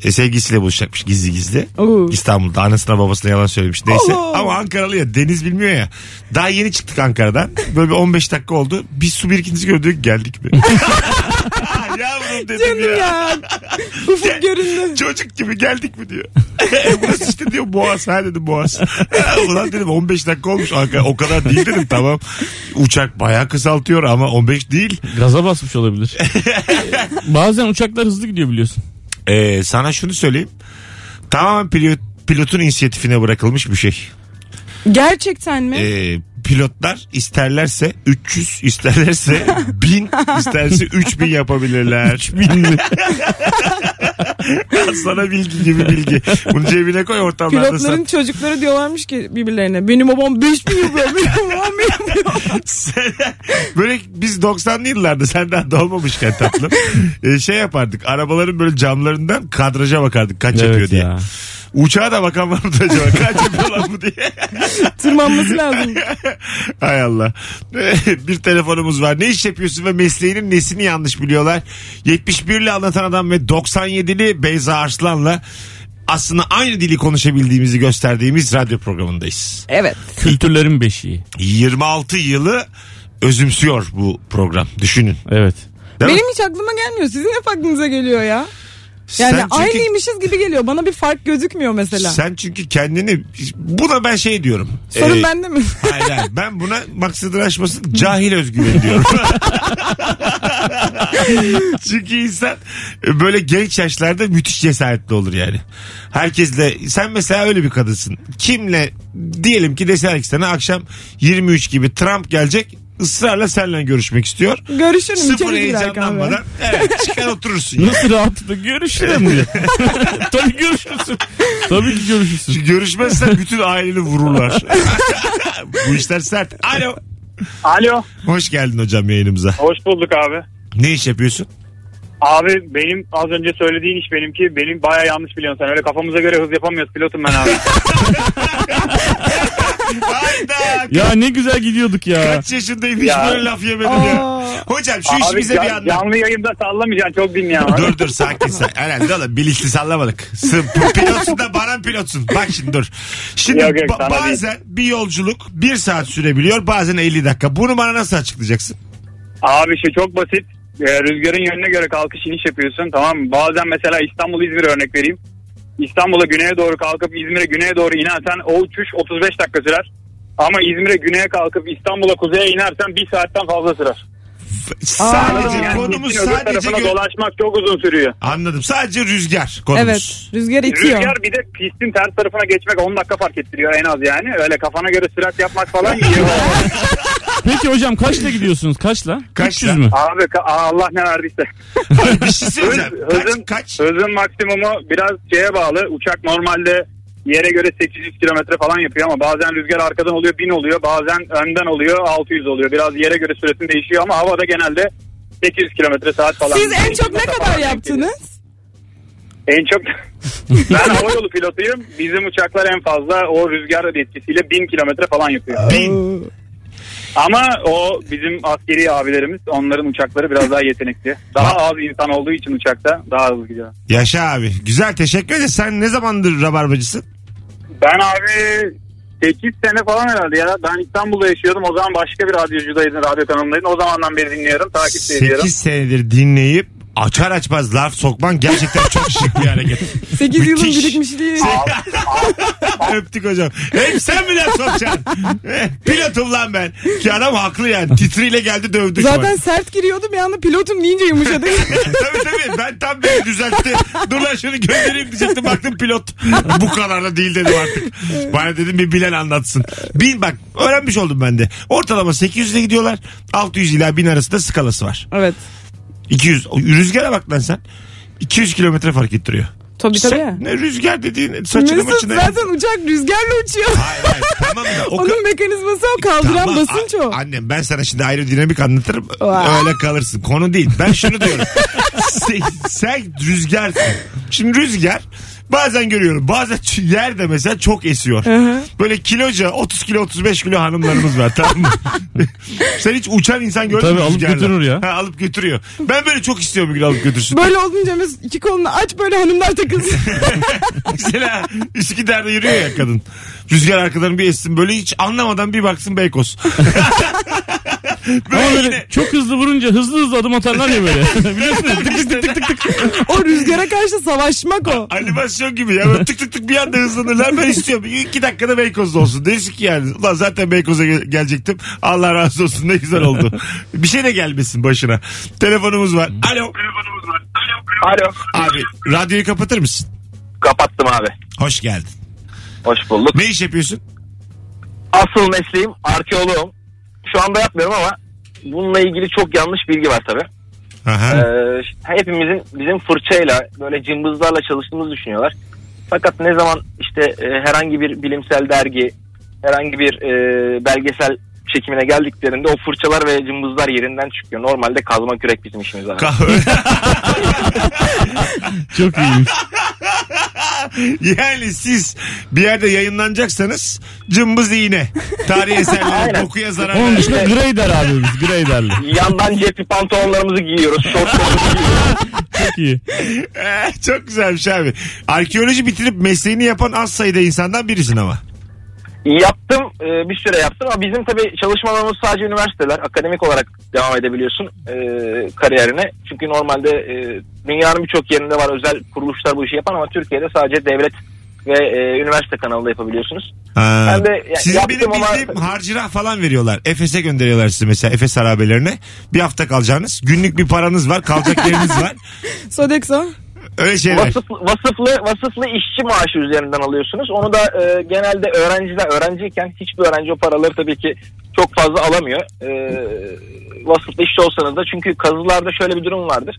e, sevgilisiyle buluşacakmış gizli gizli.
Oo.
İstanbul'da anasına babasına yalan söylemiş. Neyse
Oo.
ama Ankaralı ya Deniz bilmiyor ya. Daha yeni çıktık Ankara'dan. Böyle bir 15 dakika oldu. Bir su birikintisi gördük geldik
<laughs>
mi? <laughs> yavrum dedim
Canım ya. Ufuk
<laughs>
göründü.
Çocuk gibi geldik mi diyor. <laughs> E, Burası işte diyor Boğaz. Ha dedim Boğaz. <laughs> E, Ulan dedim 15 dakika olmuş. Arka- O kadar değil dedim tamam. Uçak bayağı kısaltıyor ama 15 değil.
Gaza basmış olabilir. Bazen uçaklar hızlı gidiyor biliyorsun.
Ee, sana şunu söyleyeyim. Tamamen pilot, pilotun inisiyatifine bırakılmış bir şey.
Gerçekten mi?
Ee, pilotlar isterlerse 300, isterlerse 1000, isterse 3000 yapabilirler. 3000 <laughs> Sana bilgi gibi bilgi. Bunu cebine koy ortamlarda sat.
Pilotların çocukları diyorlarmış ki birbirlerine benim babam 5 bin yapıyor benim babam bin yapıyor.
Sen- böyle biz 90'lı yıllarda sen daha doğmamışken
<laughs>
tatlım. e, şey yapardık arabaların böyle camlarından kadraja bakardık kaç yapıyor
Evet
diye.
ya.
Uçağa da bakan var mı acaba
<laughs>
kaç yapıyor lan bu diye.
<laughs> Tırmanması lazım.
Hay Allah. <laughs> bir telefonumuz var. Ne iş yapıyorsun ve mesleğinin nesini yanlış biliyorlar? 71'li anlatan adam ve 97'li Beyza Arslan'la aslında aynı dili konuşabildiğimizi gösterdiğimiz radyo programındayız.
Evet.
Kültürlerin beşiği.
26 yılı özümsüyor bu program. Düşünün.
Evet.
Değil mi?
Benim hiç aklıma gelmiyor. Sizin hep aklınıza geliyor ya.
Sen
Yani
çünkü-
aynıymışız gibi geliyor. Bana bir fark gözükmüyor mesela.
Sen çünkü kendini buna ben şey diyorum.
Sorun
Ee,
bende mi?
<laughs>
<laughs>
Hayır, hayır. ben buna maksadın aşmasın cahil özgüven diyorum. <laughs> Çünkü insan böyle genç yaşlarda müthiş cesaretli olur yani. Herkesle sen mesela öyle bir kadınsın. Kimle diyelim ki deseler ki sana akşam 23 gibi Trump gelecek ısrarla seninle görüşmek istiyor.
Görüşürüm.
Sıfır
içeri girer
heyecanlanmadan
kahve.
evet, çıkar oturursun.
<laughs>
yani.
Nasıl rahatlıkla <laughs> görüşürüm diye. Tabii görüşürsün. Tabii ki görüşürsün.
Çünkü görüşmezsen bütün aileni vururlar. Bu işler sert. Alo.
Alo.
Hoş geldin hocam yayınımıza.
Hoş bulduk abi.
Ne iş yapıyorsun?
Abi benim az önce söylediğin iş benimki. Benim baya yanlış biliyorsun sen. Öyle kafamıza göre hız yapamıyoruz. Pilotum ben abi.
Hayda.
Ya ne güzel gidiyorduk ya.
Kaç yaşındayım hiç
Ya.
böyle laf yemedim ya.
Aa.
Hocam <laughs> şu işi
abi
bize bir
can-
anlat.
canlı yayında sallamayacaksın. Çok dinleyen var.
Dur dur sakin sakin. Herhalde oğlum bilinçli sallamadık. Sırf bu pilotsun da baran pilotsun. Bak şimdi dur. Şimdi
Yok, yok,
ba-
sana değil.
bazen bir yolculuk bir saat sürebiliyor bazen 50 dakika. Bunu bana nasıl açıklayacaksın?
Abi şey çok basit. Ee, rüzgarın yönüne göre kalkış iniş yapıyorsun. Tamam mı? Bazen mesela İstanbul İzmir örnek vereyim. İstanbul'a güneye doğru kalkıp İzmir'e güneye doğru inersen o uçuş 35 dakika sürer. Ama İzmir'e güneye kalkıp İstanbul'a kuzeye inersen bir saatten fazla sürer.
Sadece
Yani
konumuz
bütün öbür
sadece...
tarafına
gö-
dolaşmak çok uzun sürüyor.
Anladım. Sadece rüzgar konumuz.
Evet. Rüzgar itiyor.
Rüzgar bir de pistin ters tarafına geçmek 10 dakika fark ettiriyor en az yani. Öyle kafana göre sürat yapmak falan iyi.
Peki hocam kaçla gidiyorsunuz? Kaçla?
Kaçla?
300 mü?
Abi ka- Allah ne verdiyse.
Ay, bir şey
Hız,
söyleyeceğim.
hızın,
Kaç, kaç?
hızın maksimumu biraz şeye bağlı. Uçak normalde yere göre 800 kilometre falan yapıyor ama bazen rüzgar arkadan oluyor 1000 oluyor. Bazen önden oluyor 600 oluyor. Biraz yere göre süresin değişiyor ama havada genelde 800 kilometre saat falan.
Siz en çok ne
Saat
kadar
falan
yaptınız?
En çok
<laughs>
ben hava yolu pilotuyum. Bizim uçaklar en fazla o rüzgar etkisiyle 1000 kilometre falan yapıyor.
Bin.
Ama o bizim askeri abilerimiz onların uçakları biraz daha yetenekli. Daha az insan olduğu için uçakta daha hızlı gidiyor.
Yaşa abi. Güzel teşekkür ederiz. Sen ne zamandır rabarbacısın?
Ben abi 8 sene falan herhalde ya. Ben İstanbul'da yaşıyordum. O zaman başka bir radyocudaydım. Radyo kanalındaydım. O zamandan beri dinliyorum. Takip de ediyorum.
8 senedir dinleyip açar açmaz laf sokman gerçekten çok şık bir hareket. <laughs>
8 yılın
Müthiş.
birikmişliği.
Öptük hocam. Hem sen mi laf sokacaksın? <laughs> Pilotum lan ben. Ki adam haklı yani. Titriyle geldi dövdü. şu an.
Zaten sert giriyordum bir anda pilotum deyince yumuşadı.
<laughs> tabii tabii ben tam beni düzeltti. Dur lan şunu göndereyim diyecektim baktım pilot. Bu kadar da değil dedim artık. Bana dedim bir bilen anlatsın. Bin bak öğrenmiş oldum ben de. Ortalama 800'e gidiyorlar. 600 ila 1000 arasında skalası var.
<laughs> evet.
200 rüzgara bak lan sen. 200 kilometre fark ettiriyor.
E, Tabii tabii.
Sen, ne rüzgar dediğin saçını
Mesut
maçını.
zaten uçak rüzgarla uçuyor.
Hayır hayır tamam da. O
Onun mekanizması o kaldıran
Tamam,
basınç o.
a- Annem ben sana şimdi aerodinamik anlatırım.
Vay.
Öyle kalırsın. Konu değil. Ben şunu
<laughs>
diyorum. sen, sen rüzgarsın. Şimdi rüzgar bazen görüyorum. Bazen ç- yerde mesela çok esiyor. Böyle kiloca 30 kilo 35 kilo hanımlarımız var tamam
<laughs>
mı? sen hiç uçan insan gördün mü
Tabii, alıp
rüzgarla?
götürür ya.
Ha, alıp götürüyor. Ben böyle çok istiyorum bir gün alıp götürsün.
Böyle olunca Mesut iki kolunu aç böyle hanımlar <laughs> takılsın.
Mesela Üsküdar'da yürüyor ya kadın. Rüzgar arkadan bir essin böyle hiç anlamadan bir baksın
<laughs>
Beykoz.
Ama böyle
yine-
çok hızlı vurunca hızlı hızlı adım atarlar ya <laughs> böyle. Biliyorsunuz tık tık tık tık tık.
o rüzgara karşı savaşmak o.
Animasyon gibi ya. Böyle tık tık tık bir anda hızlanırlar. Ben istiyorum. İki dakikada Beykoz'da olsun. Neyse ki yani. Ulan zaten Beykoz'a ge- gelecektim. Allah razı olsun. Ne güzel oldu. bir şey de gelmesin başına. Telefonumuz var. Alo.
Alo.
Abi radyoyu kapatır mısın?
Kapattım abi.
Hoş geldin.
Hoş bulduk.
Ne iş yapıyorsun?
Asıl mesleğim arkeoloğum. Şu anda yapmıyorum ama bununla ilgili çok yanlış bilgi var tabii.
Aha.
Ee, hepimizin bizim fırçayla böyle cımbızlarla çalıştığımızı düşünüyorlar. Fakat ne zaman işte e, herhangi bir bilimsel dergi, herhangi bir e, belgesel çekimine geldiklerinde o fırçalar ve cımbızlar yerinden çıkıyor. Normalde kazma kürek bizim işimiz abi.
Kahve. <laughs>
Çok iyiymiş.
yani siz bir yerde yayınlanacaksanız cımbız iğne. Tarih eserleri
Aynen.
dokuya zarar
Onun
vermiyor.
dışında Greyder abi biz. Greyder'li.
Yandan cepli pantolonlarımızı giyiyoruz, şortlarımızı giyiyoruz.
Çok iyi.
Eh, Çok güzelmiş abi. Arkeoloji bitirip mesleğini yapan az sayıda insandan birisin ama.
Yaptım, e, bir süre yaptım ama bizim tabii çalışmalarımız sadece üniversiteler. Akademik olarak devam edebiliyorsun e, kariyerine. Çünkü normalde e, dünyanın birçok yerinde var özel kuruluşlar bu işi yapan ama Türkiye'de sadece devlet ve e, üniversite kanalında yapabiliyorsunuz.
Ha.
Ben de ya-
Sizin
yaptım
benim
ama-
bildiğim harcırah falan veriyorlar. Efes'e gönderiyorlar sizi mesela Efes harabelerine. Bir hafta kalacaksınız. Günlük bir paranız var. Kalacak yeriniz var.
<laughs> Sodexo.
Öyle şeyler.
Vasıf, vasıflı vasıflı işçi maaşı üzerinden alıyorsunuz. Onu da e, genelde öğrenciler öğrenciyken hiçbir öğrenci o paraları tabii ki çok fazla alamıyor. E, vasıflı işçi olsanız da çünkü kazılarda şöyle bir durum vardır.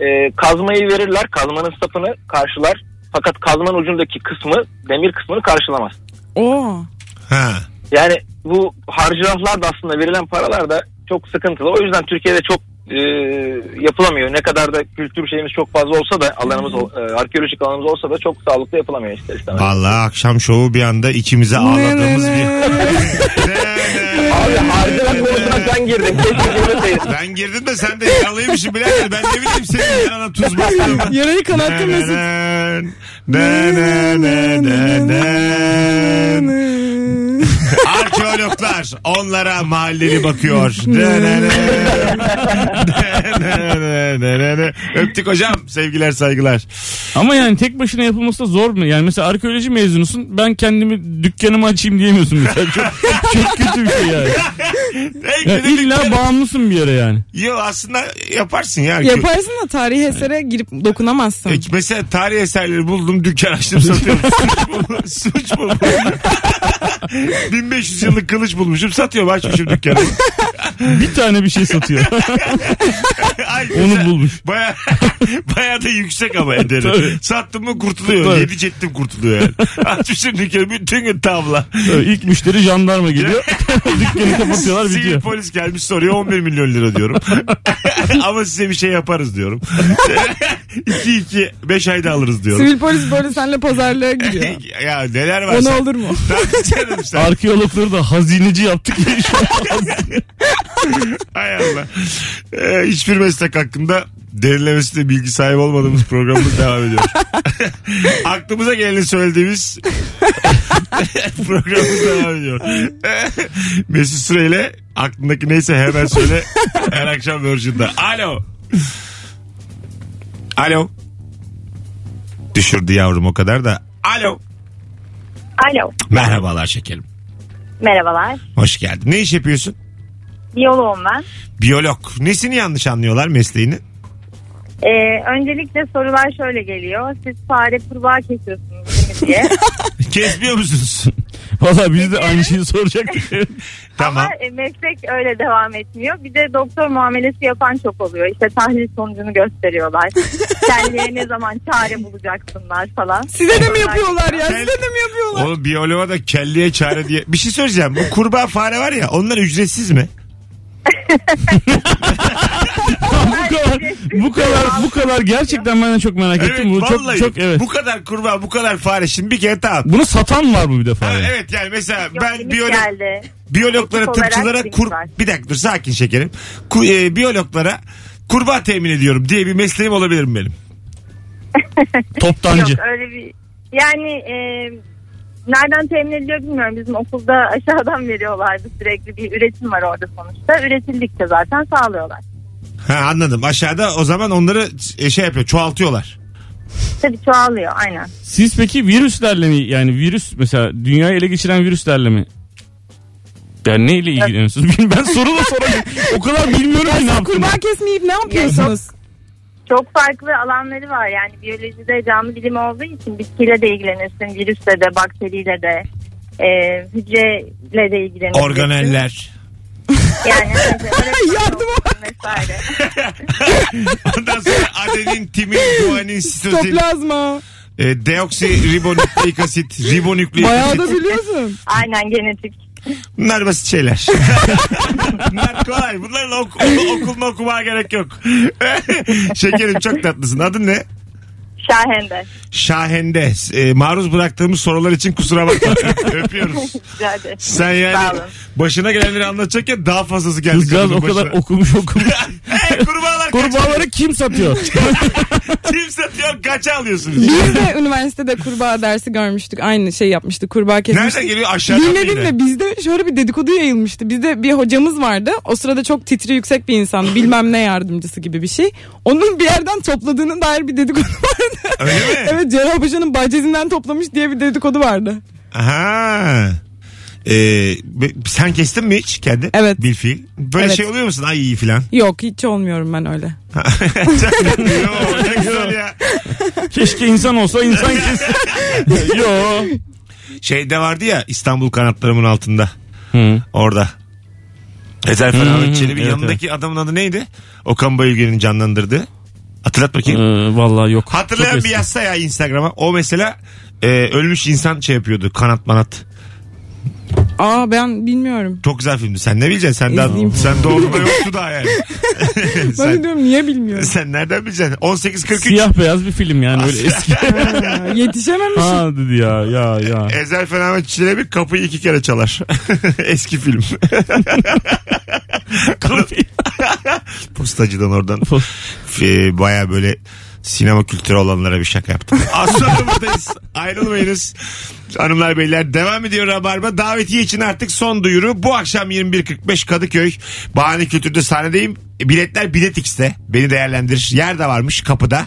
E, kazmayı verirler, kazmanın sapını karşılar. Fakat kazmanın ucundaki kısmı, demir kısmını karşılamaz.
Oo.
Ha.
Yani bu harcıraflar da aslında verilen paralar da çok sıkıntılı. O yüzden Türkiye'de çok e, yapılamıyor. Ne kadar da kültür şeyimiz çok fazla olsa da alanımız ol- e, arkeolojik alanımız olsa da çok sağlıklı yapılamıyor ister istemez.
Vallahi akşam şovu bir anda ikimize ağladığımız
Ne, <laughs>
bir...
ne, ne.
Abi harcıraf konusuna sen
<laughs>
girdin. Keşke
şey-
girmeseydin.
ben girdim de sen de yaralıymışsın birader. Ben ne bileyim senin yanına tuz bastığımı.
<laughs> Yarayı kanattı
Ne,
Mesut.
ne, ne, ne, ne, ne, ne. Arkeologlar onlara mahalleli bakıyor. Ne, ne, ne. Ne, ne, ne, ne, ne. Öptük hocam. Sevgiler saygılar.
Ama yani tek başına yapılması da zor mu? Yani mesela arkeoloji mezunusun ben kendimi dükkanımı açayım diyemiyorsun mesela. Çok, çok kötü bir şey yani. Ya
Ey,
illa bağımlısın bir yere yani.
Yo aslında yaparsın ya. arkeoloji.
Yaparsın da tarihi esere girip dokunamazsın.
E, Mesela tarih eserleri buldum dükkan açtım
<laughs>
satıyorum. Suç mu? bu? Suç mu? bu? 1500 yıllık kılıç bulmuşum satıyorum açmışım
<laughs>
dükkanı.
Bir tane bir
<laughs>
şey satıyor.
Ay,
Onu bulmuş.
<laughs> Baya, baya da yüksek ama ederi.
Tabii.
Sattım mı kurtuluyor.
Tabii.
Yedi çettim kurtuluyor
<laughs>
yani. Açmışım dükkanı bütün gün tavla.
Böyle ilk müşteri jandarma geliyor. <laughs> Dükkanı kapatıyorlar
Sivil
bitiyor.
polis gelmiş soruyor 11 milyon lira
<laughs>
diyorum. ama size bir şey yaparız diyorum. 2-2 5 ayda alırız diyorum.
Sivil polis böyle senle pazarlığa <laughs> giriyor.
ya neler var
Ona olur <laughs> mu?
<laughs> Tabii
<laughs>
canım sen.
Arkeologları da hazineci yaptık. <laughs>
Hay Allah. Ee, hiçbir meslek hakkında derinlemesine bilgi sahibi olmadığımız programımız devam ediyor. <laughs> Aklımıza geleni söylediğimiz <laughs> programımız devam ediyor. <laughs> Mesut Süreyle aklındaki neyse hemen söyle her akşam Virgin'de. Alo. Alo. Düşürdü yavrum o kadar da. Alo.
Alo.
Merhabalar şekerim.
Merhabalar.
Hoş geldin. Ne iş yapıyorsun?
Biyoloğum ben.
Biyolog. Nesini yanlış anlıyorlar mesleğini?
Ee, öncelikle sorular şöyle geliyor. Siz fare kurbağa kesiyorsunuz değil
<laughs>
mi diye.
Kesmiyor musunuz?
<laughs> Valla biz de aynı
<laughs>
şeyi soracaktık.
tamam.
Ama e, meslek öyle devam etmiyor. Bir de doktor muamelesi yapan çok oluyor. İşte tahlil sonucunu gösteriyorlar. Kendileri ne zaman çare bulacaksınlar falan.
Size de mi yapıyorlar ya? Size de mi yapıyorlar?
Oğlum biyoloğa da kelleye çare diye. Bir şey söyleyeceğim. Bu kurbağa fare var ya onlar ücretsiz mi?
bu kadar, bu kadar, bu kadar gerçekten ben de çok merak ettim. Bu çok,
vallahi.
çok evet.
Bu kadar kurbağa bu kadar fare şimdi bir kere tamam.
Bunu satan var bu bir defa.
Ha,
yani.
evet yani mesela
Yok,
ben
limit
biyolog,
geldi.
biyologlara,
Etik olarak
tıpçılara
limit
kur...
var.
Bir dakika dur sakin şekerim. Ku- e, biyologlara kurbağa temin ediyorum diye bir mesleğim olabilir mi benim?
Toptancı.
Yok öyle bir... Yani e, nereden temin ediliyor bilmiyorum. Bizim okulda aşağıdan veriyorlardı sürekli. Bir üretim var orada sonuçta. Üretildikçe zaten sağlıyorlar.
Ha anladım. Aşağıda o zaman onları e, şey yapıyor çoğaltıyorlar.
Tabii çoğalıyor aynen.
Siz peki virüslerle mi yani virüs mesela dünyayı ele geçiren virüslerle mi? Yani neyle ilgileniyorsunuz? <laughs> Bilmiyorum. Ben soru da soramıyorum. O kadar bilmiyorum ki ne yaptım.
Kurban kesmeyip ne yapıyorsunuz?
Çok farklı alanları var yani biyolojide canlı bilim olduğu için bitkiyle de ilgilenirsin, virüsle de, bakteriyle de, e, hücreyle de ilgilenirsin.
Organeller. <laughs>
Yani öyle-
Yardım
vesaire.
Ondan sonra adenin, timin, guanin, sitozin,
Toplazma.
e, deoksiribonükleik asit, ribonükleik
Bayağı
asit.
da biliyorsun.
Aynen genetik.
Bunlar basit şeyler. <laughs> Bunlar kolay. Bunların ok- ok- okulunu okumaya gerek yok. <laughs> Şekerim çok tatlısın. Adın ne?
Şahende.
Şahende. E, maruz bıraktığımız sorular için kusura bakma. <laughs> Öpüyoruz.
Rica ederim.
Sen
Sağ
yani
olun.
başına gelenleri anlatacakken daha fazlası geldi.
Kızcağız
kadının
o kadar
başına.
okumuş okumuş.
<laughs> Hey, kurbağalar kaç?
<laughs> Kurbağaları kim satıyor?
Kim satıyor? Kaça alıyorsunuz?
Biz de üniversitede kurbağa dersi görmüştük. Aynı şey yapmıştık. Kurbağa
Nereden
kesmiştik.
geliyor? Aşağıdan mı
Bilmedim
yine?
de bizde şöyle bir dedikodu yayılmıştı. Bizde bir hocamız vardı. O sırada çok titri yüksek bir insan. Bilmem ne yardımcısı gibi bir şey. Onun bir yerden topladığına dair bir dedikodu <laughs> vardı.
Öyle mi?
evet Cerrah Paşa'nın bahçesinden toplamış diye bir dedikodu vardı.
Aha. Ee, be- sen kestin mi hiç kendi?
Evet.
Bilfiil. Böyle
Evet.
şey oluyor musun? Ay iyi
<laughs>
filan.
Yok hiç olmuyorum ben öyle.
Çok tatlı. Yo, ne güzel ya.
<laughs> Keşke insan olsa insan kesin. <laughs> Yo.
Şeyde Şey vardı ya İstanbul kanatlarımın altında.
Hı.
Orada. Ezel
Hı hı,
Ferahmet Çelebi
Hmm, evet,
yanındaki adamın adı neydi? Okan Bayülgen'in canlandırdığı. Hatırlat bakayım.
e, vallahi yok.
Hatırlayan
Hmm.
bir
Çok eski.
yazsa ya Instagram'a. O mesela e, ölmüş insan şey yapıyordu. Kanat manat.
Aa ben bilmiyorum.
Çok güzel filmdi. Sen ne bileceksin? Sen, daha,
İzleyeyim.
sen doğduğunda yoktu daha yani.
<laughs> Ben de
sen,
diyorum niye bilmiyorum.
sen nereden bileceksin? 18.43
Siyah beyaz bir film yani öyle eski.
Ha, Yetişememişim.
ha dedi ya ya <laughs> ya.
Ezel Fenomen Çilebi kapıyı iki kere çalar. <laughs> Eski film. <laughs> Postacıdan oradan. Ee, Baya böyle sinema kültürü olanlara bir şaka <laughs> yaptım. Az sonra buradayız. Ayrılmayınız. Hanımlar beyler devam ediyor Rabarba. Davetiye için artık son duyuru. Bu akşam 21.45 Kadıköy. Bahane Kültür'de sahnedeyim. E, Biletler Bilet X'te. Beni değerlendir. Yer de varmış kapıda.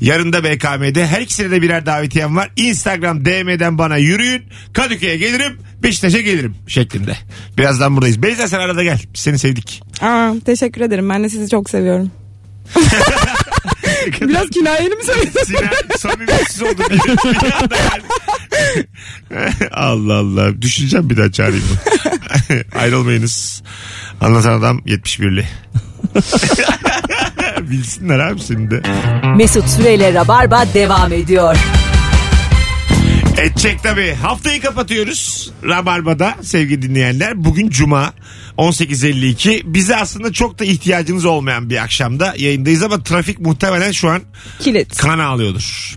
Yarın da BKM'de. Her ikisine de birer davetiyem var. Instagram DM'den bana yürüyün. Kadıköy'e gelirim. Beşiktaş'a gelirim şeklinde. Birazdan buradayız. Beyza sen arada gel. Biz seni sevdik.
Aa, teşekkür ederim. Ben de sizi çok seviyorum.
<laughs>
Biraz kinayeli mi söyledin?
Sinan samimiyetsiz oldu bir, bir anda yani. <laughs> Allah Allah. Düşüneceğim bir daha çağırayım mı? <laughs> Ayrılmayınız. Anlatan adam 71'li. <laughs> Bilsinler abi seni de.
Mesut Süreyle Rabarba devam ediyor.
Edecek tabii. Haftayı kapatıyoruz. Rabarba'da sevgili dinleyenler. Bugün Cuma 18.52. Bize aslında çok da ihtiyacınız olmayan bir akşamda yayındayız ama trafik muhtemelen şu an
Kilit.
kan ağlıyordur.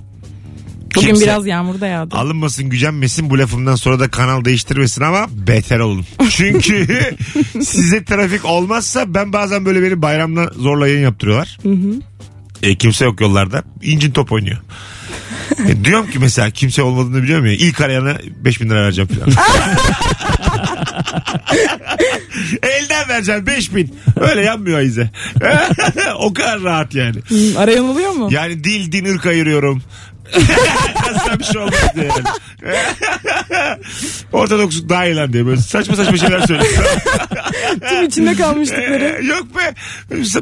Bugün
Kimse-
biraz yağmur da yağdı.
Alınmasın gücenmesin bu lafımdan sonra da kanal değiştirmesin ama beter olun. Çünkü size trafik olmazsa ben bazen böyle beni bayramla zorla yayın yaptırıyorlar. E, kimse yok yollarda. İncin top oynuyor. E, diyorum ki mesela kimse olmadığını biliyorum ya. İlk arayana 5000 lira vereceğim falan. Elden vereceğim 5000. Öyle yanmıyor Ayize. <laughs> o kadar rahat yani.
Hmm, Arayan oluyor mu?
Yani dil din ırk ayırıyorum. Asla bir şey olmaz <laughs> diye yani. Ortodoksluk daha iyi lan diye böyle saçma saçma şeyler söylüyor.
Tüm içinde kalmışlıkları.
Ee, <laughs> Yok be.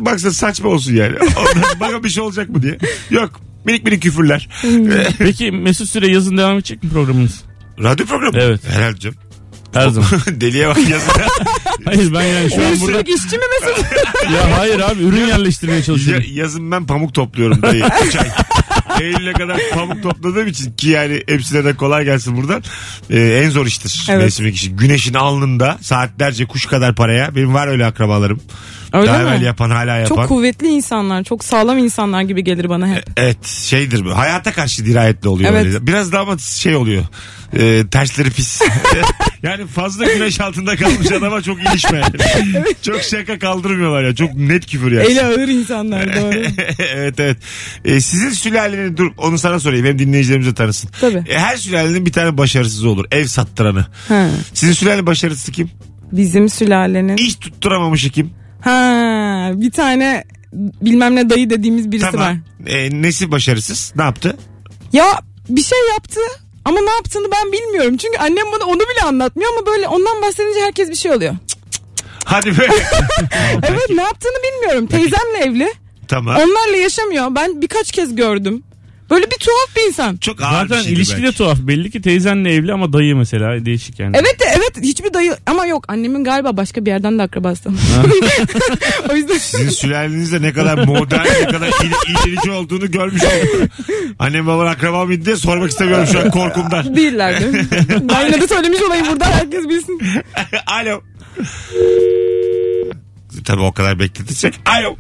Baksana saçma olsun yani. Ondan <laughs> baka bir şey olacak mı diye. Yok. Minik minik küfürler. Ee,
Peki Mesut Süre yazın devam edecek mi programınız?
<laughs> Radyo programı.
Evet.
Herhalde canım. <laughs>
Her zaman.
Deliye bak yazın.
Hayır ben yani şu an burada...
Uyuşturucu işçi mi Mesut?
<laughs> Ya hayır abi ürün yerleştirmeye
Ya-
çalışıyorum.
yazın ben pamuk topluyorum
<laughs>
dayı. Üç ay. Eylül'e kadar pamuk topladığım için ki yani hepsine de kolay gelsin buradan. Ee, en zor iştir
Evet.
mevsimlik işi. Güneşin alnında saatlerce kuş kadar paraya. Benim var öyle akrabalarım.
Öyle
Daha
mi?
evvel yapan hala yapan.
Çok kuvvetli insanlar, çok sağlam insanlar gibi gelir bana hep.
Evet şeydir bu. Hayata karşı dirayetli oluyor.
Evet.
öyle. Biraz daha ama şey oluyor. Ee, tersleri pis. <laughs> yani fazla güneş altında kalmış adama çok
<laughs>
ilişme. çok şaka kaldırmıyorlar ya. Çok net küfür yani.
Eli ağır insanlar doğru.
E. <laughs> evet evet. Ee, sizin sülalenin dur onu sana sorayım. Hem dinleyicilerimiz de tanısın.
Tabii.
Ee, her sülalenin bir tane başarısızı olur. Ev sattıranı.
Ha,
Sizin sülalenin başarısızı kim?
bizim sülalenin.
İş tutturamamışı kim?
Ha, bir tane bilmem ne dayı dediğimiz birisi var.
Ee, nesi başarısız? Ne yaptı?
Ya bir şey yaptı ama ne yaptığını ben bilmiyorum. Çünkü annem bana onu bile anlatmıyor ama böyle ondan bahsedince herkes bir şey oluyor.
Hadi be.
<laughs> Evet ne yaptığını bilmiyorum. Teyzemle evli.
tamam.
Onlarla yaşamıyor. Ben birkaç kez gördüm. Böyle bir tuhaf bir insan.
Çok ağır bir
Zaten
şeydi
ilişki de
belki.
tuhaf. Belli ki teyzenle evli ama dayı mesela değişik yani.
Evet de evet hiçbir dayı ama yok annemin galiba başka bir yerden de akrabası. <laughs> o yüzden <laughs>
Sizin sülalenizde ne kadar modern, ne kadar il- ilerici olduğunu görmüş oldum. Annem babam akraba mıydı diye sormak istemiyorum şu an korkumdan. <laughs>
değillerdi. ben yine de söylemiş olayım burada herkes bilsin.
Alo. Tabii o kadar bekletecek. Alo.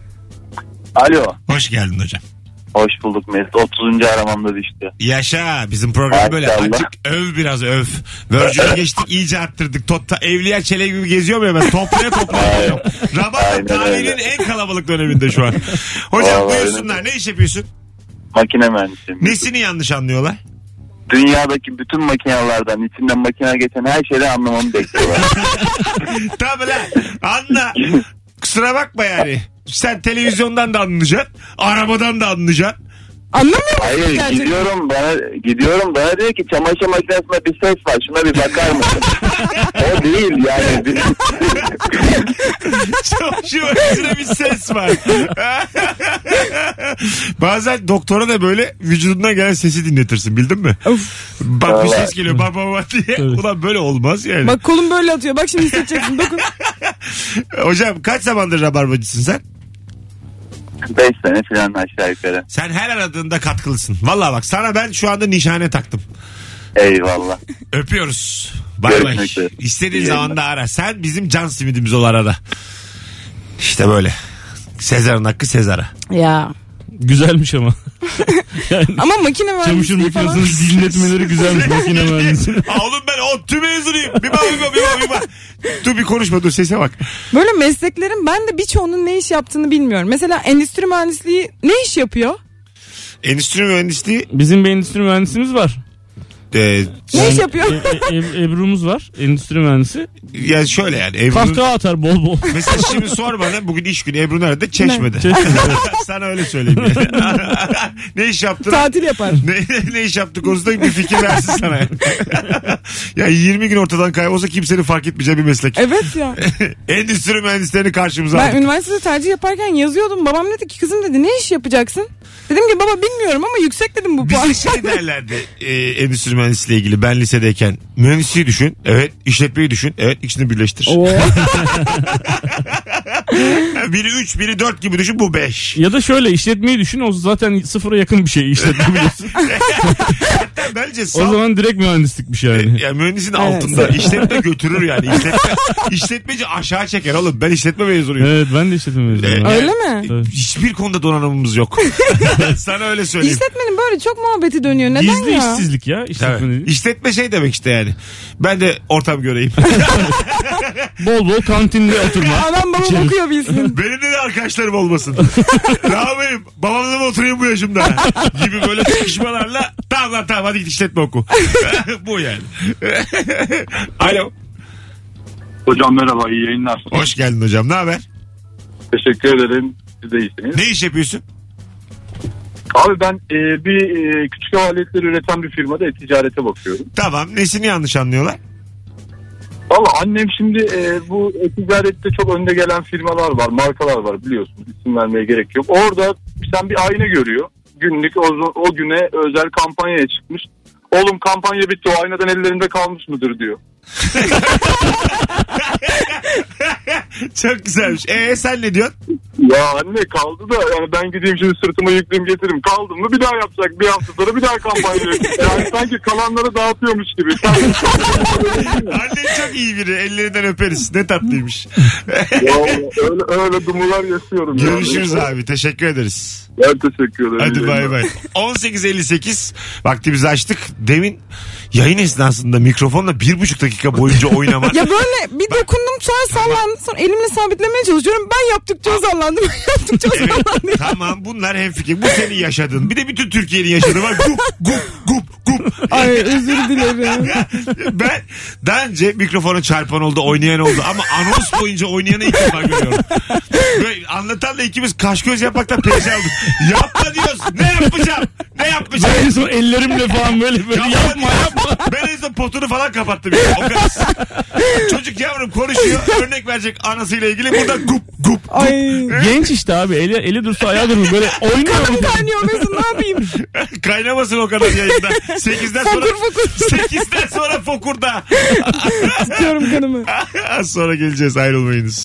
Alo.
Hoş geldin hocam.
Hoş bulduk Mesut. 30. aramamda düştü.
Yaşa bizim program böyle
Maşallah.
azıcık öv biraz öv. Virgin'i geçtik iyice arttırdık. Totta evliya çelebi gibi geziyorum ya ben toplaya toplaya geziyorum. Rabarba
Aynen
tarihinin
öyle.
en kalabalık döneminde şu an. Hocam
Vallahi
buyursunlar ne iş yapıyorsun?
Makine mühendisiyim.
Nesini yanlış anlıyorlar? <laughs>
Dünyadaki bütün makinelerden içinden makine geçen her şeyden anlamamı bekliyorlar.
Tabii lan anla. Kusura bakma yani. Sen televizyondan da anlayacaksın. Arabadan da anlayacaksın.
Anlamıyor musun
<laughs> Hayır
gerçekten?
gidiyorum bana gidiyorum bana diyor ki çamaşır makinesinde bir ses var şuna bir bakar <laughs> mısın? o değil yani. <laughs>
Çok şu ötesine bir ses var. Bazen doktora da böyle vücudundan gelen sesi dinletirsin bildin mi? Bak bir
Vallahi.
ses geliyor bak bak bak diye. Ulan böyle olmaz yani.
Bak kolum böyle atıyor. Bak şimdi hissedeceksin. Dokun.
Hocam kaç zamandır rabarbacısın sen?
5 sene falan aşağı yukarı.
Sen her aradığında katkılısın. Valla bak sana ben şu anda nişane taktım.
Eyvallah.
Öpüyoruz. Bay bay.
Görüşmek üzere.
İstediğin
İyi
zaman da ara. Sen bizim can simidimiz ol arada. İşte böyle. Sezar'ın hakkı Sezar'a.
ya.
Güzelmiş
<laughs>
ama.
Ama makine
Çamaşır
mühendisliği falan.
makinesini dinletmeleri
<laughs>
güzelmiş makine mühendisi.
Aa, Oğlum ben ODTÜ mezunuyum. Bir bak bir bak bir bak bir bak. Dur bir konuşma dur sese bak.
Böyle mesleklerin ben de birçoğunun ne iş yaptığını bilmiyorum. Mesela endüstri mühendisliği ne iş yapıyor?
Endüstri mühendisliği
Bizim bir endüstri mühendisimiz var.
e,
Ne iş yapıyor?
E, e, Eb- Ebru'muz var. Endüstri mühendisi.
yani şöyle yani. Ebru,
Kahkaha atar bol bol.
mesela şimdi sor bana bugün iş günü Ebru nerede? Çeşmede. <laughs> Sana öyle söyleyeyim yani. <laughs> ne iş yaptın?
Tatil yapar.
ne, ne iş yaptı konusunda bir fikir versin sana. yani. <laughs> ya 20 gün ortadan kaybolsa kimsenin fark etmeyeceği bir meslek.
Evet ya.
<laughs> Endüstri mühendislerini karşımıza
Ben
aldık.
üniversitede tercih yaparken yazıyordum. Babam dedi ki kızım dedi ne iş yapacaksın? Dedim ki baba bilmiyorum ama yüksek dedim bu puan.
Bize şey derlerdi e, endüstri mühendisliği ilgili ben lisedeyken. Mühendisliği düşün. Evet. işletmeyi düşün. Evet. ikisini birleştir.
Oo.
<laughs> biri 3 biri 4 gibi düşün bu 5.
Ya da şöyle işletmeyi düşün o zaten sıfıra yakın bir şey işletme biliyorsun.
Bence
o
sal.
zaman direkt
<laughs>
mühendislikmiş yani.
Ya mühendisin altında işletme götürür yani.
<laughs>
İşletme, işletmeci aşağı çeker oğlum. Ben işletme mezunuyum.
Evet ben de işletme mezunuyum.
Evet.
Öyle mi?
Evet.
Hiçbir konuda donanımımız
<laughs>
yok. Sana öyle söyleyeyim.
<laughs> İşletmenin böyle çok muhabbeti dönüyor. Neden
Gizli
ya?
işsizlik ya işletme.
Tabii.
dediğin.
İşletme şey demek işte yani. Ben de ortam göreyim.
Bol bol kantinde oturma.
Anam babam
İçerim.
<laughs>
okuyor bilsin.
Benim de, de arkadaşlarım olmasın. ne yapayım? Babamla mı oturayım bu yaşımda? gibi böyle çıkışmalarla tamam lan tamam <laughs> hadi git işletme oku. bu yani. Alo.
Hocam merhaba iyi yayınlar.
Hoş geldin hocam. Ne haber?
Teşekkür ederim. Siz de iyisiniz.
Ne iş yapıyorsun?
Abi ben e, bir e, küçük aletleri üreten bir firmada e-ticarete bakıyorum.
Tamam. Nesini yanlış anlıyorlar? <laughs>
Valla annem şimdi e, bu e-ticarette çok önde gelen firmalar var, markalar var biliyorsunuz. İsim vermeye gerek yok. Orada sen bir ayna görüyor. Günlük o, o güne özel kampanyaya çıkmış. Oğlum kampanya bitti o aynadan ellerinde kalmış mıdır diyor.
Çok güzelmiş. Ee sen ne diyorsun?
Ya anne kaldı da yani ben gideyim şimdi sırtıma yükleyeyim getiririm. Kaldım mı bir daha yapacak bir hafta sonra bir daha <laughs> kampanya. yani sanki kalanları dağıtıyormuş gibi.
Annen çok iyi biri. Ellerinden öperiz. Ne tatlıymış. <laughs>
Ya öyle, öyle dumular yaşıyorum. ya.
Görüşürüz abi. Teşekkür ederiz.
Ben teşekkür ederim.
Hadi bay bay. 18.58 vaktimizi açtık. Demin yayın esnasında mikrofonla bir buçuk dakika boyunca oynamak.
Ya böyle bir dokundum sonra sallandı sonra elimle sabitlemeye çalışıyorum. Ben yaptıkça sallandım. <laughs> Ben yaptıkça sallandım.
tamam bunlar hem fikir. Bu senin yaşadığın. Bir de bütün Türkiye'nin yaşadığı var. Gup gup gup gup.
<laughs> Ay özür dilerim.
ben daha önce mikrofona çarpan oldu oynayan oldu ama anons boyunca oynayanı ilk defa görüyorum. Böyle anlatanla ikimiz kaş göz yapmaktan perişan olduk. Yapma diyoruz. Ne yapacağım? Ne yapacağım?
Ben en son ellerimle falan böyle böyle
Yapma,
yapma yapma.
Ben en son potunu falan kapattım. Yani. O kadar. Çocuk yavrum konuşuyor. Örnek verecek anasıyla ilgili. Bu da gup gup.
Ay.
Genç işte abi eli, eli dursa ayağı durur böyle oynuyor.
Kanım kaynıyor Mesut ne yapayım?
Kaynamasın o kadar yayında. 8'den sonra...
Fokur fokur.
8'den sonra fokurda. <laughs>
Tutuyorum kanımı.
Az sonra geleceğiz ayrılmayınız.